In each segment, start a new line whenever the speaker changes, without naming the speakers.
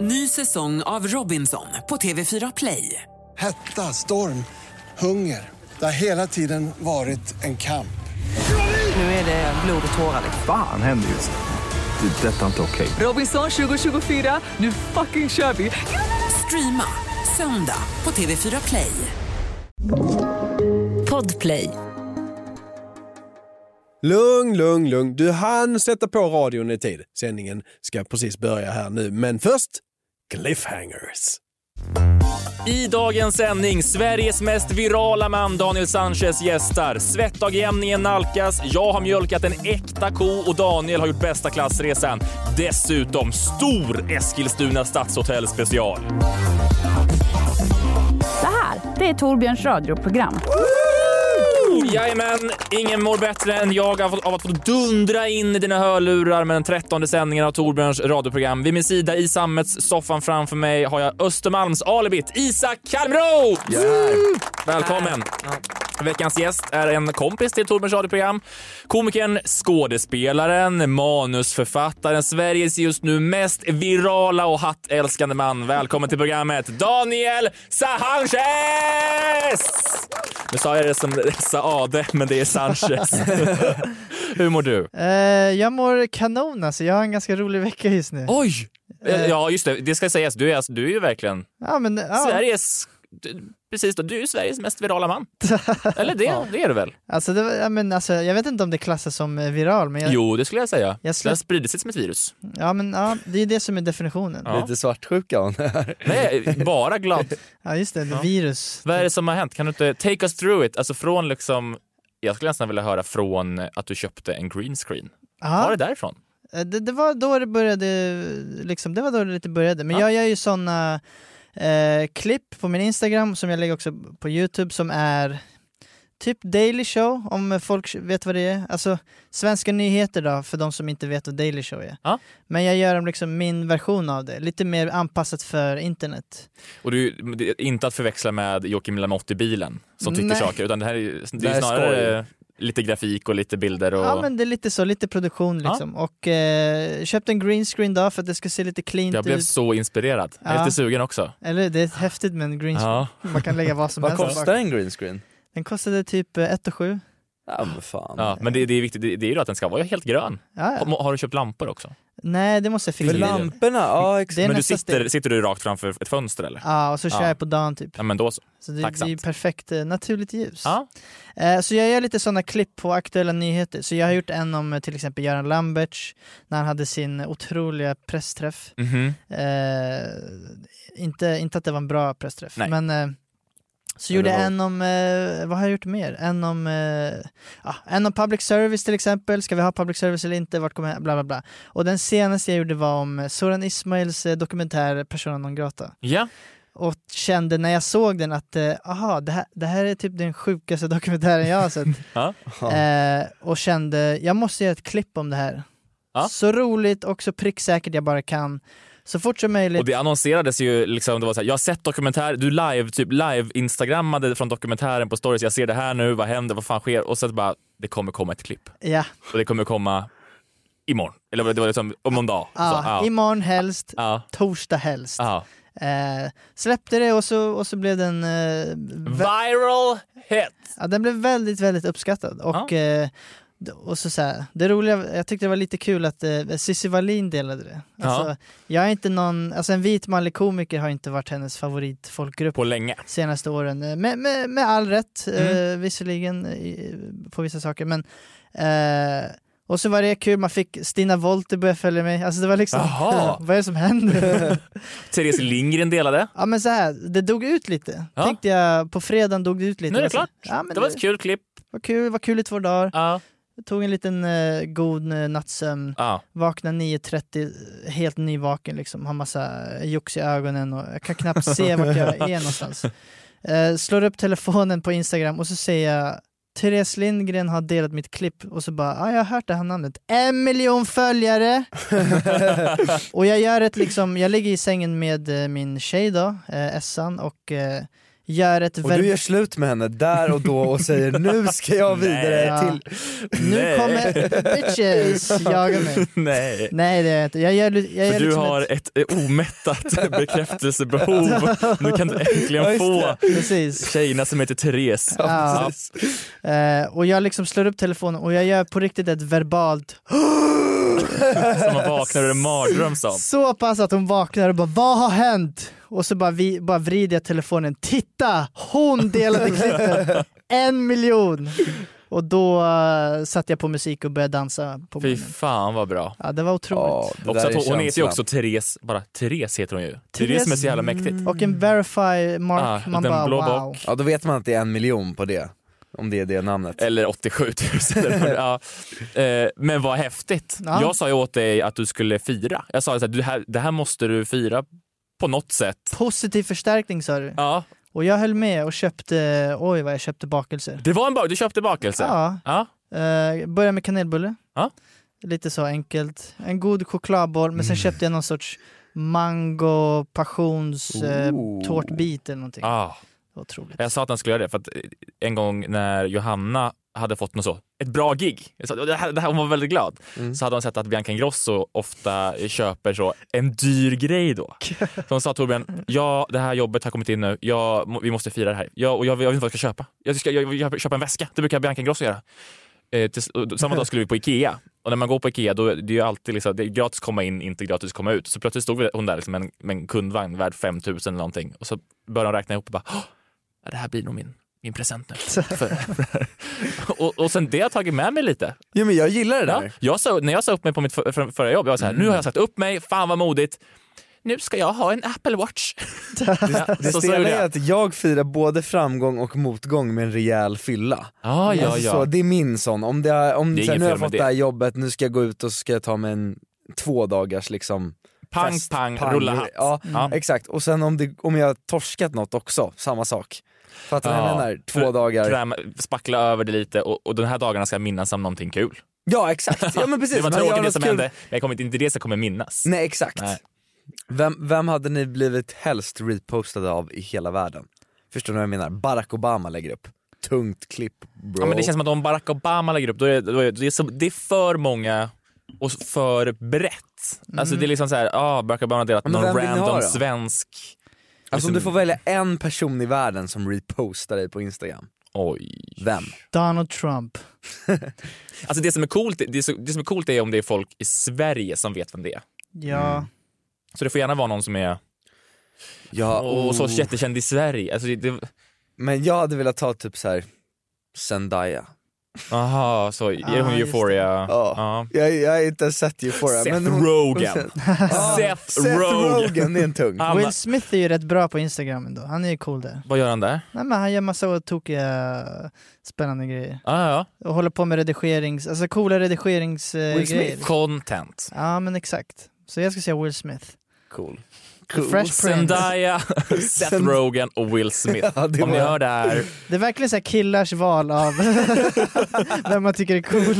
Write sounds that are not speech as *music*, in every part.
Ny säsong av Robinson på TV4 Play.
Hetta, storm, hunger. Det har hela tiden varit en kamp.
Nu är det blod och tårar. liksom.
Fan händer just nu. Det. är Detta är inte okej.
Robinson 2024, nu fucking kör vi! Streama söndag på TV4 Play. Podplay.
Lugn, lugn, lugn. Du hann sätta på radion i tid. Sändningen ska precis börja här nu, men först cliffhangers.
I dagens sändning, Sveriges mest virala man Daniel Sanchez gästar. Svettdagjämningen nalkas, jag har mjölkat en äkta ko och Daniel har gjort bästa klassresan. Dessutom stor Eskilstuna stadshotell special.
Det här, det är Torbjörns radioprogram.
Jajamän, ingen mår bättre än jag av av att få dundra in i dina hörlurar med den trettonde sändningen av Torbjörns radioprogram. Vid min sida i sammetssoffan framför mig har jag Östermalms-alibit Isak Kalmroth! Välkommen! Veckans gäst är en kompis till Torbjörns radioprogram. Komikern, skådespelaren, manusförfattaren, Sveriges just nu mest virala och hattälskande man. Välkommen till programmet, Daniel Sanchez! Nu sa jag det som *laughs* Saade, men det är Sanchez. *laughs* Hur mår du?
Eh, jag mår kanon alltså, jag har en ganska rolig vecka just nu.
Oj! Ja, just det. Det ska sägas. Du är, alltså, du är ju verkligen
Ja, men, ja.
Sveriges... du- Precis då, du är ju Sveriges mest virala *laughs* man. Eller det, det är du väl?
Alltså, det var, ja, men, alltså, jag vet inte om det klassas som eh, viral, men, jag,
Jo, det skulle jag säga.
Jag
Det har
släpp-
spridit sig som ett virus.
ja, men ja, det är det som är definitionen.
Ja.
Ja,
Lite svartsjuka hon är.
*laughs* Nej, bara *laughs* glad.
just det, virus.
Vad är det som har hänt? Kan du inte take us through it? Alltså från liksom... Jag skulle nästan vilja höra från att du köpte en green screen.
Ja,
Var det därifrån?
eh, det, det var då det började, liksom, det var då det lite började. Men
Ja.
jag gör ju såna eh, klipp på min Instagram, som jag lägger också på YouTube, som är typ Daily Show, om folk vet vad det är. Alltså, svenska nyheter då, för de som inte vet vad Daily Show är.
Ja.
Men jag gör dem liksom min version av det, lite mer anpassat för internet.
Och du, det är inte att förväxla med Joakim Lanotti-bilen som tycker
Nej.
saker, utan det här är, ju- det
Det
är
här
ju
är
snarare lite grafik och lite bilder och...
Ja men det är lite så, lite produktion
Ja.
liksom. Och eh, köpte en green screen då för att det ska se lite cleant
Jag blev
ut.
så inspirerad. Jag är
Ja.
lite sugen också.
Eller det är häftigt med en green screen,
Ja.
man kan lägga vad som
Vad
helst
kostar en green screen?
Den kostade typ eh, 1 7.
Ja men fan.
Ja, men det, det är viktigt, det, det är ju då att den ska vara helt grön.
Ja, ja.
Har, har du köpt lampor också?
Nej det måste jag
För
fixa.
lamp-
lamporna, ja
Det är
exakt.
Men du
nästa
sitter,
steg.
sitter du rakt framför ett fönster eller?
Ja, och så kör
Ja.
jag på dagen typ.
Ja, men då så.
Så det, det är ju
Tacksamt.
perfekt eh, naturligt ljus.
Ja.
Eh, Så jag gör lite sådana klipp på aktuella nyheter. Så jag har gjort en om eh, till exempel Göran Lamberts, när han hade sin otroliga pressträff.
Mhm.
Eh, inte, inte att det var en bra pressträff,
Nej.
men eh, så
Men
gjorde
det
jag
var-
en om, eh, vad har jag gjort mer? En om, eh, ja, en om public service till exempel, ska vi ha public service eller inte, vart kommer, bla bla bla. Och den senaste jag gjorde var om eh, Soran Ismails eh, dokumentär Persona non grata.
Ja.
Och kände när jag såg den att, eh, aha, det här, det här är typ den sjukaste *laughs* dokumentären jag har sett.
*laughs* Ja.
Eh, och kände, jag måste göra ett klipp om det här.
Ja.
Så roligt och så pricksäkert jag bara kan. Så fort som möjligt.
Och det annonserades ju liksom, det var så här, jag har sett dokumentär, du live, typ live-instagrammade från dokumentären på stories, jag ser det här nu, vad händer, vad fan sker? Och så bara, det kommer komma ett klipp.
Ja,
Och det kommer komma imorgon. Eller det var liksom om någon dag. Så,
ja.
ja.
imorgon helst,
Ja.
torsdag helst.
Ja.
Eh, släppte det och så, och så blev den, eh, vä-
Viral hit!
ja, den blev väldigt, väldigt uppskattad. Och, eh, d- och så så här, det roliga, jag tyckte det var lite kul att eh, Cissi Wallin delade det. Alltså, jag är inte någon, alltså en vit manlig komiker har inte varit hennes favoritfolkgrupp
På länge.
senaste åren. Eh, Med, med, med all rätt, eh,
Mm.
visserligen eh, på vissa saker. Men, eh, och så var det kul, man fick Stina Wollter börja följa mig. Alltså det var liksom,
Jaha.
*laughs* vad är det som händer?
*laughs* Therese Lindgren delade.
ja men så här, det dog ut lite.
Ja.
Tänkte jag, på fredagen dog det ut lite.
Nu är det
Alltså,
klart.
Ja, men
Det var ett kul klipp.
var kul, var kul i två dagar.
Ja.
Tog en liten eh, god eh, nattsömn.
Ja.
Vaknar 9.30, helt nyvaken liksom, har massa jox i ögonen och jag kan knappt se vart
*laughs*
jag är någonstans. Eh, slår upp telefonen på Instagram och så ser jag Therese Lindgren har delat mitt klipp och så bara, ah, jag har hört det här namnet, en
*laughs*
miljon följare! och jag gör ett liksom, jag ligger i sängen med eh, min tjej då, eh, Essan, och eh, gör ett
Och
verbalt...
du gör slut med henne där och då och säger nu ska jag
*laughs*
vidare
Ja.
till...
Nu
Nej.
*laughs*
kommer bitches jaga mig.
Nej.
Nej det gör jag inte. Jag gör, li- jag gör
För du
liksom
har
ett...
ett eh, omättat *laughs* bekräftelsebehov. Nu kan du äntligen få
Precis.
tjejerna som heter Therese. *laughs*
Ja. Eh, och jag liksom slår upp telefonen och jag gör på riktigt ett verbalt
Som man vaknar ur en mardröm som.
så pass att hon vaknar och bara vad har hänt? Och så bara, vi, bara vrider jag telefonen. Titta! Hon delade *laughs* klippet! En miljon! Och då eh, satte jag på musik och började dansa på
Fy
morgonen.
fan vad bra.
Ja, det var otroligt.
Ja, det
Också
där är
att hon, hon heter ju
känslan.
också Therese, bara Therese heter hon ju. Det är det som är så jävla mäktigt.
Och en verify mark,
Ah,
man
den
bara
blå
wow.
bock.
Ja då vet man att det är en miljon på det. Om det är det namnet.
Eller 87 000. eller vad det- ja.
*laughs*
Eh, Men vad häftigt.
Ja.
Jag sa ju åt dig att du skulle fira. Jag sa att det här, det här måste du fira på något sätt.
Positiv förstärkning sa du.
Ja,
Och jag höll med och köpte, oj vad jag köpte bakelser.
det var en bak- du köpte bakelse.
Ja,
Ja.
eh, började med kanelbulle.
Ja.
Lite så enkelt. En god chokladboll,
Mm.
men sen köpte jag någon sorts mango passions eh,
Ooh.
tårtbit eller någonting.
Ah.
Det var otroligt.
Jag sa att han skulle göra det för att eh, en gång när Johanna hade fått något så, ett bra gig, jag sa, det här, det här, hon var väldigt glad, så hade hon sett att Bianca Ingrosso ofta köper så en dyr grej då. Så hon sa Torbjörn, ja det här jobbet har kommit in nu, ja, må- vi måste fira det här. Ja, och jag, vet- jag vet inte vad jag ska köpa. Jag ska jag, jag, köpa en väska, det brukar Bianca Ingrosso göra. Eh, till, och då- samma dag skulle vi på Ikea och när man går på Ikea då är det ju alltid liksom, det är gratis komma in, inte gratis komma ut. Så plötsligt stod vi- hon där liksom med, en, med en kundvagn värd 5000 eller någonting och så började hon räkna ihop och bara "Åh, det här blir nog min, min
*laughs*
present nu. För, *laughs* och, och sen det har jag tagit med mig lite.
Jo men jag gillar det
Ja,
där.
jag sa, när jag sa upp mig på mitt för, för, förra jobb, jag var så här, nu
Mm.
har jag sagt upp mig, fan vad modigt. Nu ska jag ha en
*laughs*
Apple Watch. Ja,
Det
så, så
stela
gjorde
är
jag.
att jag firar både framgång och motgång med en rejäl fylla.
Ja, ja,
Alltså så,
ja.
det är min sån, om det är, om
Det är
så här,
inget
nu har jag
fel med
fått
det.
det här jobbet, nu ska jag gå ut och så ska jag ta mig en två dagars liksom
Pang,
fest,
pang, rulla hatt.
Ja, mm,
Ja.
exakt. Och sen om, det, om jag har torskat något också, samma sak. Fattar du vad jag
Ja.
menar? Två dagar.
Kräm, spackla över det lite och, och de här dagarna ska jag minnas som någonting kul.
Ja exakt, ja men
*laughs*
precis.
det var
Man gör
tråkigt det
något
som
kul.
hände, men jag kommer inte det som kommer minnas.
Nej exakt.
Nej.
Vem, vem hade ni blivit helst repostade av i hela världen? Förstår ni vad jag menar? Barack Obama lägger upp. Tungt klipp bro.
Ja, men det känns som att om Barack Obama lägger upp, då är, då är, det, är så, det är för många och för brett. Alltså det är liksom så här, ah, Barack Obama har delat
Mm. Men
någon
vem vill ni ha
random
då?
svensk...
Alltså om du får välja en person i världen som repostar dig på Instagram,
Liksom, Oj.
vem?
Donald Trump.
Alltså det som är coolt, det, är så, det som är coolt är om det är folk i Sverige som vet vem det är.
Ja,
Mm.
Så det får gärna vara någon som är
Ja, Oh.
och så jättekänd i Sverige. Alltså det, det,
Men jag hade velat ta typ så här Zendaya.
aha, så är hon
Ah,
i
just det.
euphoria?
Ja.
Ja.
Jag, jag har inte ens sett Euphoria.
Seth
men hon- *laughs*
Rogen.
Ja,
Seth
Rogen.
Rogen.
det är en tung.
Anna,
Will Smith är ju rätt bra på Instagram ändå. Han är ju cool där.
vad gör han där?
Nej, men han gör massa tokiga spännande grejer.
Ah, ja.
Och håller på med redigerings, alltså coola
Will Smith.
redigeringsgrejer.
Content.
Ja men exakt. Så jag ska säga Will Smith.
Cool.
The Fresh Prince.
Zendaya,
*laughs*
Seth Rogen och Will Smith.
Ja, det
Om ni
var-
hör det
*laughs*
här,
Det är verkligen så här killars val av *laughs* vem man tycker
*laughs*
är cool.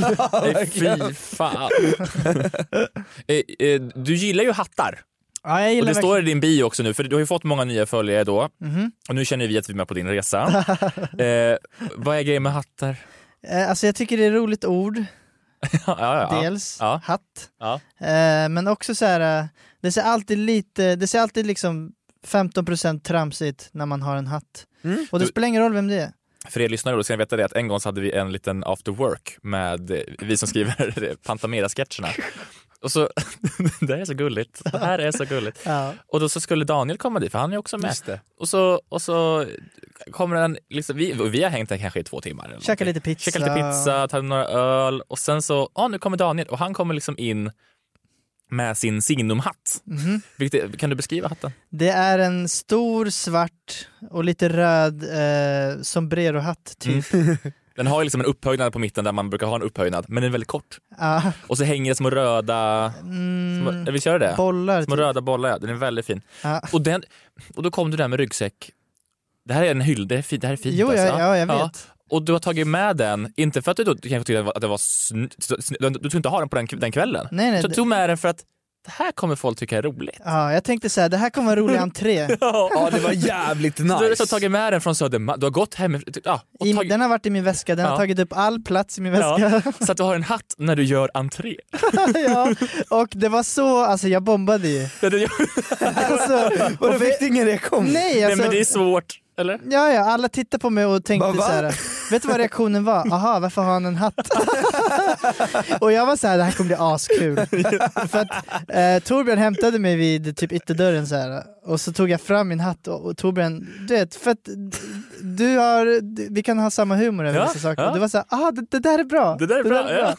nej, fy fan. *laughs* Eh, eh, Du gillar ju hattar.
Ja, jag
Och det
gillar verkligen... Mhm.
står i din bio också nu, för du har ju fått många nya följare då. Och nu känner vi att vi är med på din resa.
*laughs*
eh, vad är grejen med hattar? *laughs*
Eh, Alltså jag tycker det är ett roligt ord,
Ja, ja, ja.
dels,
Ja.
hatt.
Ja.
Eh, Men också så här, eh, det ser alltid lite, det ser alltid liksom 15% tramsigt när man har en hatt. Och det
Mm. Du-
spelar ingen roll vem det är.
För er lyssnare då ska ni veta det att en gång så hade vi en liten after work med eh, vi som skriver *laughs* Pantamera-sketcherna. Och så, *laughs* det här är så gulligt. Det här är så gulligt.
Ja.
Och då så skulle Daniel komma dit, för han är också med.
Just det.
Och så, och så kommer den, liksom, vi, och vi har hängt där kanske i två timmar. eller
Käka
någonting.
lite pizza.
Käka lite pizza, ta några öl och sen så, ja nu kommer Daniel och han kommer liksom in med sin signumhatt.
Mhm.
Vilket är- Kan du beskriva hatten?
Det är en stor svart och lite röd eh, sombrerohatt
Mm.
typ.
Den har ju liksom en upphöjnad på mitten där man brukar ha en upphöjnad, men den är väldigt kort.
Ja.
Och så hänger det små röda,
Mm,
små, vi kör det?
bollar
Små
typ.
röda bollar, ja. den är väldigt fin.
Ja.
Och, den, och då kom du där med ryggsäck. Det här är en hyll, det, är fint, det här är fint
Jo,
alltså.
ja, ja, jag vet.
Och du har tagit med den, inte för att du då kanske tyckte att det var- att det var sny- sny- du tog inte ha den på den, k- den kvällen.
Nej, nej,
så du
det-
tog med den för att Det här kommer folk tycka är roligt.
Ja, jag tänkte så här, det här kommer vara en rolig entré.
*laughs*
Ja det var *laughs* jävligt
Du har liksom
nice.
tagit med den från Södermalm, du har gått hem ja, och
I,
tagit,
den har varit i min väska, den
Ja.
har tagit upp all plats i min väska. *laughs*
ja, *laughs* så att du har en hatt när du gör entré.
ja, och det var så, alltså jag bombade ju.
Det, det, gör- *laughs*
Alltså,
Och
och
fick du ingen reaktion?
nej,
nej,
alltså,
men det är svårt, eller?
ja, ja, alla tittade på mig och tänkte
Bara, va?
så här. vet du vad reaktionen
*laughs*
var? Aha, varför har han en hatt? *laughs* och jag var så här, det här kommer bli
*laughs*
askul. För att eh, Torbjörn hämtade mig vid typ ytterdörren så här, och så tog jag fram min hatt och, och Torbjörn, du vet, för att d- du har, d- vi kan ha samma humor över
Ja,
vissa saker.
ja.
Det var så här, aha, det, det där är bra.
Det där är bra. Ja.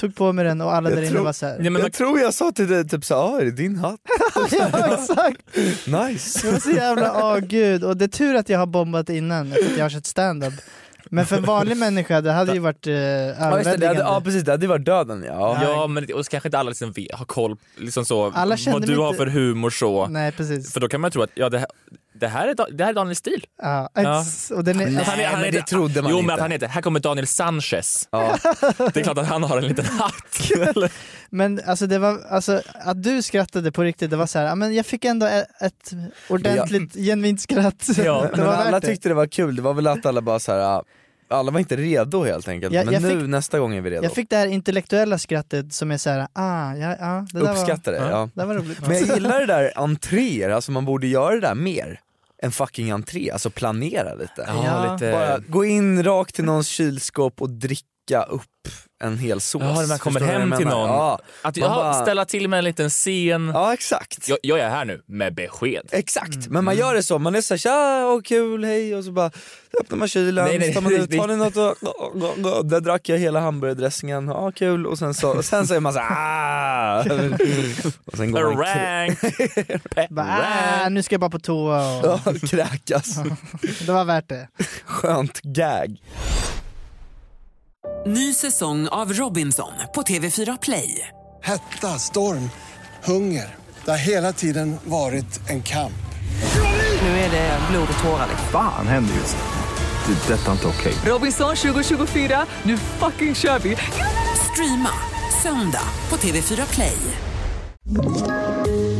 Tog på mig den och alla
Jag
där inne
tror-
var så här,
Ja, men man,
Jag tror jag sa till dig typ såhär, ah, är det din hatt?
*laughs*
*laughs*
ja exakt. Det
Nice.
var så jävla, åh gud. Och det är tur att jag har bombat innan, för att jag har kört stand-up. Men för en
*laughs*
vanlig människa, det hade ju varit eh,
Ja, just det, det hade,
överväldigande.
ja precis, det hade ju varit döden ja.
ja, men det- och så kanske inte alla liksom vet- har koll liksom så,
Alla kände
vad du
mig
har
inte-
för humor så.
Nej precis.
För då kan man tro att ja, det, här, det, här är, Da- det här är Daniel Stil.
Ja.
Ja.
Och den är,
Att han är- han
men
är-
det trodde man
jo, men
inte.
att han heter, här kommer Daniel Sanchez.
*laughs* Ja.
Det är klart att han har en liten hatt. Eller?
Men alltså, det var, alltså att du skrattade på riktigt, det var så här, ja, men jag fick ändå ett, ett ordentligt genuint skratt.
Ja,
*laughs* det
Men
var
alla
värt det.
tyckte det var kul, det var väl att alla bara såhär, ah, alla var inte redo helt enkelt.
Ja,
men
jag
nu
fick-
nästa gång är vi redo.
Jag fick det här intellektuella skrattet som är så här, ah, ja, ja, det där var,
Uppskatta det.
Ja.
Ja.
det var roligt.
Men jag gillar det där entréer, alltså man borde göra det där mer. En fucking entré, alltså planera lite.
Ja.
lite...
Bara gå in rakt till någons kylskåp och dricka upp en hel sås.
Ja, när man
Förstår
kommer
du vad
hem
jag
till
menar?
någon.
Ja,
Att
Man
jag
bara-
ställa till med en liten scen.
ja exakt.
Jag, Mm. jag är här nu med besked.
Exakt, men man gör det så, man är såhär tja, åh kul, hej och så bara öppnar man kylen,
Nej, nej,
tar man ut,
det-
har ni något och, där drack jag hela hamburgardressingen, ja kul och sen så, och sen så är man
*laughs*
såhär och sen går man krä-
Rank.
Bara, ah, nu ska jag bara på toa. Och,
Ja,
*laughs*
kräkas,
det var värt det.
skönt gag.
Ny säsong av Robinson på TV4 Play.
Hetta, storm, hunger. Det har hela tiden varit en kamp.
Nu är det blod och tårar.
Fan händer just det. Det är detta inte okej.
Robinson 2024, nu fucking kör vi! Streama söndag på TV4 Play.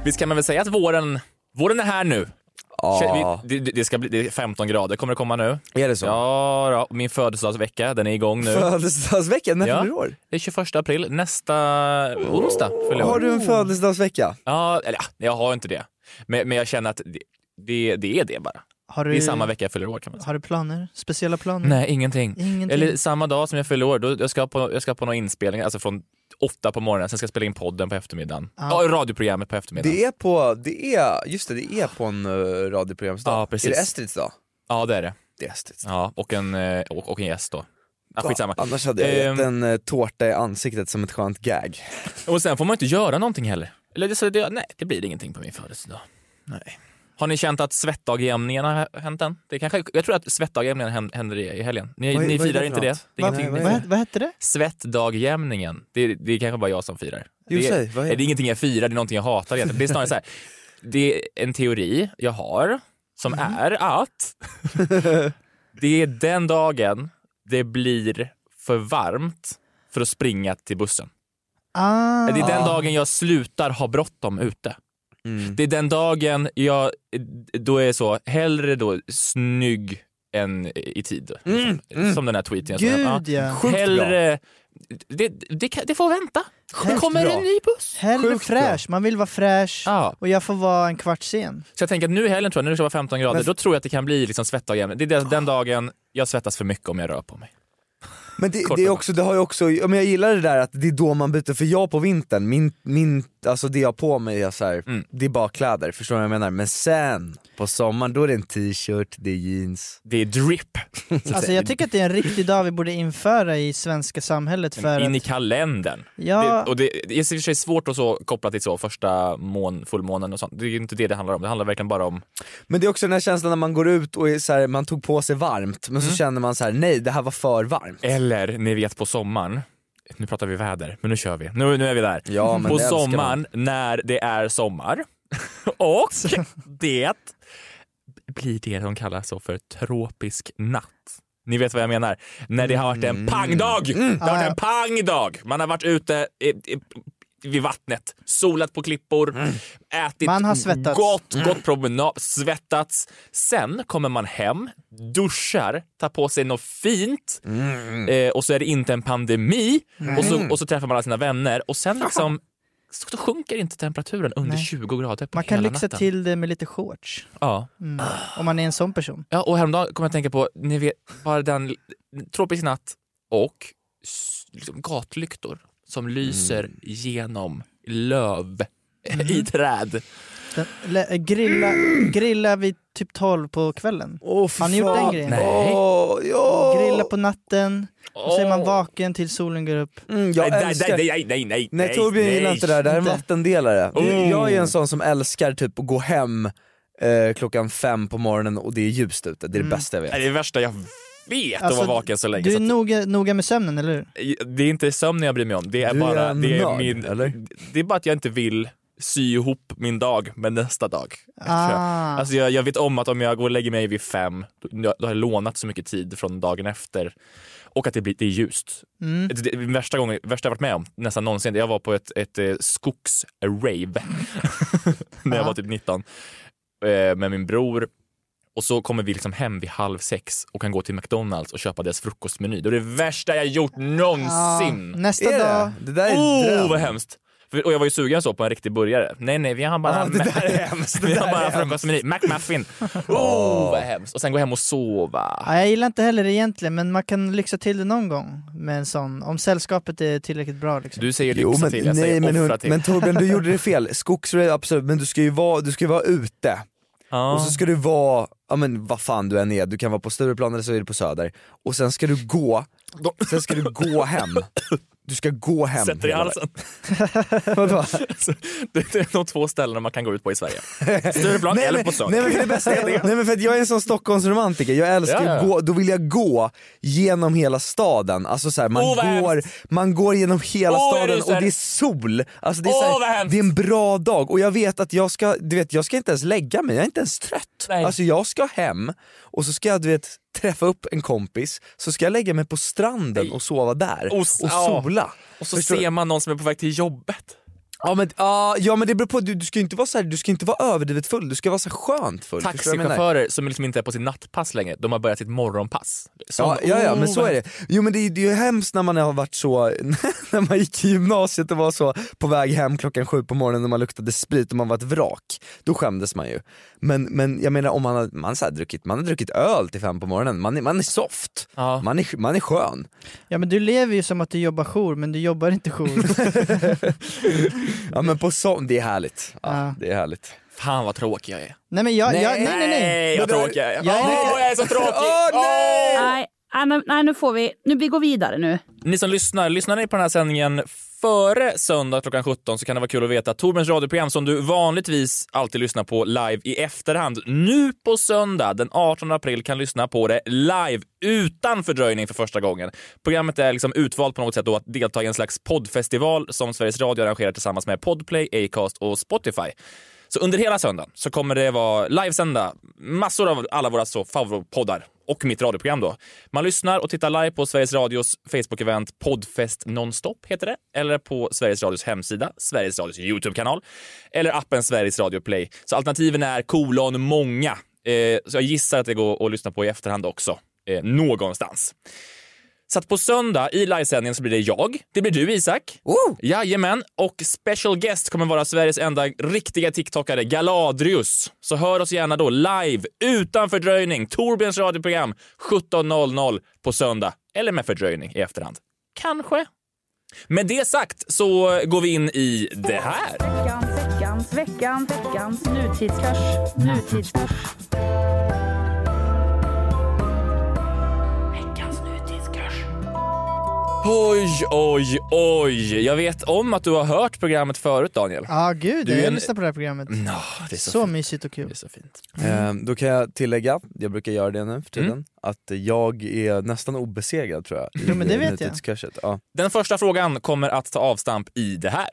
*laughs* Visst kan man väl säga att våren, våren är här nu.
Ja,
Vi- Det, det, ska bli, det är 15 grader, kommer det komma nu?
är det så?
Ja, då. min födelsedagsvecka, den är igång nu.
*laughs* Födelsedagsvecka, när
Ja.
fyller du år?
Det är 21 april, nästa onsdag fyller jag
Har
år.
du en födelsedagsvecka?
Ja, eller ja, jag har inte det. Men, men jag känner att det, det, det är det bara.
Har
Det är
du,
samma vecka jag fyller år kan man säga.
har du planer? Speciella planer?
Nej, ingenting.
Ingenting.
Eller samma dag som jag fyller år, då jag ska på, jag ska på någon inspelning, alltså från åtta på morgonen, sen ska jag spela in podden på eftermiddagen. Ja, radioprogrammet på eftermiddagen.
Det är på, det är, just det, det är på en uh, radioprogramsdag.
Ja,
Är
precis.
det Estrids dag?
Ja, det är det.
Det är Estrids dag.
Ja, och en, eh, och, och en gäst då. Ah, skitsamma.
Annars hade jag
Ehm.
gett en eh, tårta i ansiktet som ett skönt gag.
Och sen får man inte göra någonting heller. Eller det, så det, nej, det blir ingenting på min födelsedag. Nej. Har ni känt att svettdagjämningen har hänt än? Det kanske, jag tror att svettdagjämningen hän- händer i, i helgen. Ni,
Vad är-
ni
vad är det
firar
för
inte
något?
det? det är
Vad,
ingenting, ni
vad,
firar.
vad, hette det?
Svettdagjämningen. Det, det är kanske bara jag som firar.
Jo,
det,
säg, vad är det?
det är ingenting jag firar, det är någonting jag hatar egentligen. Det är snarare så här, det är en teori jag har som
Mm.
är
*laughs*
att det är den dagen det blir för varmt för att springa till bussen.
Ah,
Det är den dagen jag slutar ha bråttom ute. Det är den dagen jag då är så, hellre då snygg än i tid. Som den här tweeten. jag såg.
Gud, ja.
Sjukt
hellre, det, det, kan- det får vänta. det kommer
bra.
en ny buss.
hellre
sjukt
fräsch, man vill vara fräsch
Ja.
och jag får vara en
*laughs*
kvart sen.
Så jag tänker att nu i helgen tror jag, när det ska vara 15 grader, då tror jag att det kan bli liksom svettdagen. Det är den, den dagen jag svettas för mycket om jag rör på mig.
Men det,
Kort
det, är
och
också, det har ju också, ja, men jag gillar det där att det är då man byter, för jag på vintern, min, min alltså det jag har på mig är så här,
Mm.
det är bara kläder, förstår du vad jag menar? Men sen, på sommaren, då är det en t-shirt, det är jeans.
Det är drip.
Alltså jag tycker att det är en riktig dag vi borde införa i svenska samhället för
In i
att...
kalendern.
Ja,
Det, och det, det är i och för sig svårt att så koppla till så första mån, fullmånen och sånt. Det är ju inte det det handlar om. Det handlar verkligen bara om...
Men det är också den här känslan när man går ut och är så här, man tog på sig varmt, men
Mm.
så känner man så här: nej det här var för varmt.
Eller, ni vet på sommaren. Nu pratar vi väder, men nu kör vi. Nu, nu är vi där.
Ja, men
på
det älskar man.
sommaren, när det är sommar. *laughs* och det blir det de kallar så för tropisk natt. Ni vet vad jag menar. När det har varit
Mm.
en pangdag! Det har varit en pangdag! Man har varit ute i, i, vid vattnet, solat på klippor,
Mm.
ätit
Man har svettats.
gott, gått promenad, svettats. Sen kommer man hem, duschar, tar på sig något fint
Mm.
eh, och så är det inte en pandemi och, så, och så träffar man alla sina vänner och sen liksom så så sjunker inte temperaturen under
Nej.
20 grader på
man kan
hela
lyxa
natten.
till det med lite shorts.
Ja.
Mm. Om man är en sån person.
Ja, och häromdagen kom jag att tänka på, ni vet, bara den tropisk natt och s- liksom gatlyktor som lyser
Mm.
genom löv *laughs* i träd.
Den, le, grilla,
*clears throat*
grilla vid typ 12 på kvällen.
Åh
Har ni gjort den grejen?
Nej.
Åh, ja.
Grilla på natten, och så är man
Åh.
vaken till solen går upp.
Mm, jag
nej,
älskar...
nej, nej, nej, nej,
Nej Torbjörn gillar inte det där, det här är en
Inte.
vattendelare.
Oh.
Jag är en sån som älskar typ att gå hem eh, klockan fem på morgonen och det är ljust ute, det är det bästa jag vet.
Nej, Det Mm. är det värsta jag vet
Alltså,
att vara vaken så länge.
Du
så
är
att,
noga, noga med sömnen, eller hur?
det är inte sömnen jag bryr mig om, det är
Du är
bara
en
det är
nörd,
min,
eller?
Det är bara att jag inte vill sy ihop min dag med nästa dag.
Ah.
Alltså jag, jag vet om att om jag går och lägger mig vid fem, då, då har jag lånat så mycket tid från dagen efter. Och att det, blir, det är ljust.
Mm.
Det, det, värsta, gången, värsta jag varit med om, nästan någonsin, jag var på ett, ett eh, skogsrave *laughs* när
Ah.
jag var typ 19 eh, med min bror. Och så kommer vi liksom hem vid halv sex och kan gå till McDonalds och köpa deras frukostmeny. Det är det värsta jag gjort någonsin.
Ah, nästa
Är
dag,
det? det där är en
Åh,
dröm.
oh, vad hemskt! För, och jag var ju sugen så på en riktig burgare. Nej, nej, vi har bara,
Ah, det där är hemskt, det
*laughs* vi
där
har
är
bara
hemskt.
frukostmeny.
*laughs*
McMuffin. Oh, vad hemskt. Och sen gå hem och sova.
Ja, jag gillar inte heller det egentligen, men man kan lyxa till det någon gång med en sån, om sällskapet är tillräckligt bra liksom.
Du säger
Jo,
lyxa
Oh, men,
till, jag
nej,
säger
men,
offra
hur-
till.
men Torbjörn
*laughs*
du gjorde det fel, skogsrave absolut, men du ska ju vara, du ska ju vara ute.
ja.
Och så ska du vara, ja men vad fan du än är, du kan vara på Stureplan eller så är du på Söder. Och sen ska du gå, sen ska du gå hem. Du ska gå hem.
Sätter i
hela
halsen. *laughs*
vägen. Vadå?
Mm, Så det är de två ställena man kan gå ut på i Sverige.
*laughs*
Stureplan
Nej,
eller
men-
på Sök.
Nej men för det bästa är,
*laughs*
nej men för att jag är en sån Stockholmsromantiker, jag älskar
Ja,
att
ja.
gå, då vill jag gå genom hela staden. Alltså så här, man,
Åh, vad
går, man går genom hela
Åh, är
staden
det så här-
och det är sol. Alltså det, är
Åh,
så
vad
här,
hemskt.
det är en bra dag och jag vet att jag ska, du vet, jag ska inte ens lägga mig, jag är inte ens trött.
Nej.
Alltså jag ska hem och så ska jag du vet, träffa upp en kompis, så ska jag lägga mig på stranden och sova där
Och
och,
s- ja.
sola.
Och så
Förstår du?
ser man någon som är på väg till jobbet.
Ja men, ah, ja men det beror på, du, du ska ju inte vara så här, du ska inte vara överdrivet full, du ska vara så här skönt full. Förstår du vad jag menar?
Taxichaufförer som liksom inte är på sitt nattpass längre, de har börjat sitt morgonpass. Som-
Ja, ja, ja, men
Oh,
så
vad
är det. Jo men det, är- det är ju hemskt när man har varit så, *laughs* när man gick i gymnasiet och var så på väg hem klockan sju på morgonen och man luktade sprit och man var ett vrak. Då skämdes man ju. Men, men jag menar om man har, man så här druckit, man har druckit öl till fem på morgonen, man är, man är soft.
Ja.
Man, är, man är skön.
Ja men du lever ju som att du jobbar jour, men du jobbar inte jour.
*laughs*
Ja men på sån, det är härligt. Ja,
Ja.
Det är härligt.
Fan vad tråkig jag är.
nej men jag, nej, jag, nej nej nej.
Nej, vad
Men då-
tråkig jag är.
Jag är-
Åh, jag är så tråkig!
Åh, nej!
Nej, nej, nu- nej, nu får vi, nu vi går vidare nu.
Ni som lyssnar, lyssnar ni på den här sändningen före söndag klockan 17 så kan det vara kul att veta att Torbjörns radioprogram som du vanligtvis alltid lyssnar på live i efterhand, nu på söndag den 18 april kan lyssna på det live utan fördröjning för första gången. Programmet är liksom utvalt på något sätt då att delta i en slags poddfestival som Sveriges Radio arrangerar tillsammans med Podplay, Acast och Spotify. Så under hela söndagen så kommer det vara livesända massor av alla våra så favoritpoddar och mitt radioprogram då. Man lyssnar och tittar live på Sveriges Radios Facebook-event Poddfest Nonstop heter det, eller på Sveriges Radios hemsida, Sveriges Radios YouTube-kanal eller appen Sveriges Radio Play. Så alternativen är kolon många. Eh, så jag gissar att det går att lyssna på i efterhand också, eh, någonstans. Så att på söndag i livesändningen så blir det jag, det blir du Isak,
Oh!
Jajamän, och special guest kommer vara Sveriges enda riktiga TikTokare, Galadrius. Så hör oss gärna då live, utan fördröjning, Torbjörns radioprogram 17.00 på söndag. Eller med fördröjning i efterhand. Kanske. Med det sagt så går vi in i det här.
Veckans, veckans, veckans, veckans nutidskurs. Nutidskurs. Veckans nutidskurs.
Oj, oj, oj. Jag vet om att du har hört programmet förut, Daniel.
Ja, ah, gud,
Du är
jag
en- Mm,
lyssnar på det här programmet.
det är så
så
fint.
mysigt och kul.
så fint. Mm.
Eh, då kan jag tillägga, jag brukar göra det nu för tiden, att jag är nästan obesegrad tror jag.
Jo, men det vet jag.
jag. Ja.
Den första frågan kommer att ta avstamp i det här.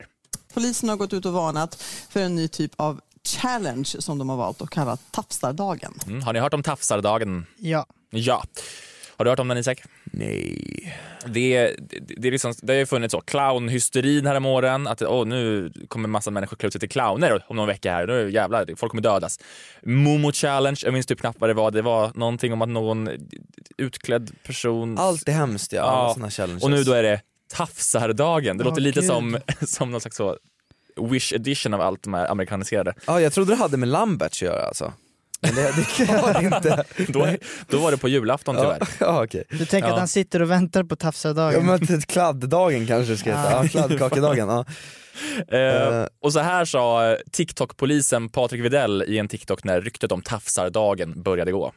Polisen har gått ut och varnat för en ny typ av challenge som de har valt att kalla Tafsardagen.
Mm. Har ni hört om tafsardagen?
Ja.
Ja. Har du hört om den Isak?
Nej.
Det, det, det, är liksom, det har ju funnits så, clownhysterin här om åren. Att åh, nu kommer massa människor klä ut sig till clowner om någon vecka här. Nu jävlar, folk kommer dödas. Momo challenge, jag minns typ knappt vad det var. Det var någonting om att någon utklädd person...
Allt är hemskt ja, alla såna challenges.
Och nu då är det tafsardagen. Det
Åh,
låter lite
gud.
som, *laughs* som någon slags så wish edition av allt de här amerikaniserade.
Ja, jag trodde det hade med Lamberts att göra alltså. Men det, det kan inte.
Då, då var det på julafton tyvärr.
Ja, *laughs* ja, okej.
Du tänker att han sitter och väntar på
Ja,
tafsardagen?
men typ kladddagen kanske det ska heta.
Ja.
Ja, kladdkakedagen. Ja.
Eh, och så här sa eh, TikTok-polisen Patrik Videll i en TikTok när ryktet om tafsardagen började gå.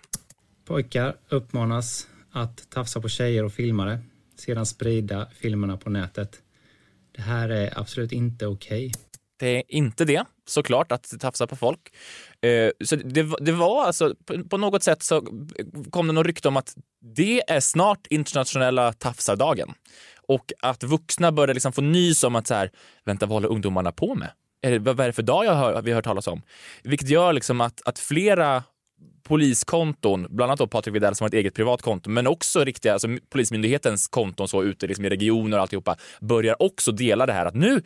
Pojkar uppmanas att tafsa på tjejer och filmare, sedan sprida filmerna på nätet. Det här är absolut inte okej.
Det är inte det, såklart, att tafsa på folk. Eh, så det, va- det var alltså, på, på något sätt så kom det något rykte om att det är snart internationella tafsardagen. Och att vuxna började liksom få nys om att så här, vänta vad håller ungdomarna på med? Är det, vad vad är det för dag jag hör, vi har hört talas om? Vilket gör liksom att, att flera poliskonton, bland annat då Patrik Widell som har ett eget privat konto, men också riktiga, alltså Polismyndighetens konton så ute liksom i regioner och alltihopa, börjar också dela det här att nu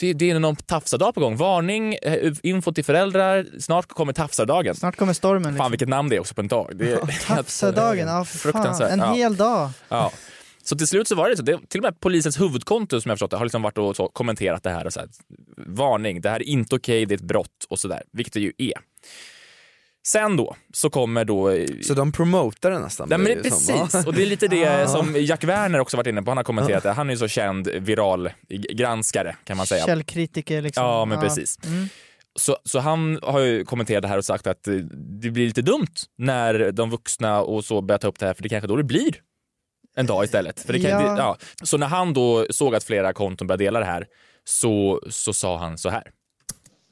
det, det är någon tafsardag på gång. Varning, eh, info till föräldrar. Snart kommer tafsardagen.
Snart kommer stormen. Liksom.
Fan vilket namn det är också på en dag. *laughs* Det är eh,
Tafsardagen, ja för fan.
Fruktansvärt,
En
ja.
hel dag.
Ja. *laughs* Så till slut så var det så. Det, till och med polisens huvudkonto som jag förstått det har liksom varit och så kommenterat det här och så här. Varning, det här är inte okej, det är ett brott och så där, vilket det ju är. Sen då så kommer då... eh,
Så de promotar det nästan?
Nej, men
blir
det,
det ju som, va?
precis, och det är lite det
Ah.
som Jack Werner också varit inne på. Han har kommenterat det. Han är ju så känd viralgranskare kan man säga.
Källkritiker liksom.
Ja, men precis. *laughs*
Mm.
Så, så han har ju kommenterat det här och sagt att eh, det blir lite dumt när de vuxna och så börjar ta upp det här för det kanske då det blir en dag istället. För det kan,
Ja.
Det, ja. Så när han då såg att flera konton började dela det här så, så sa han så här.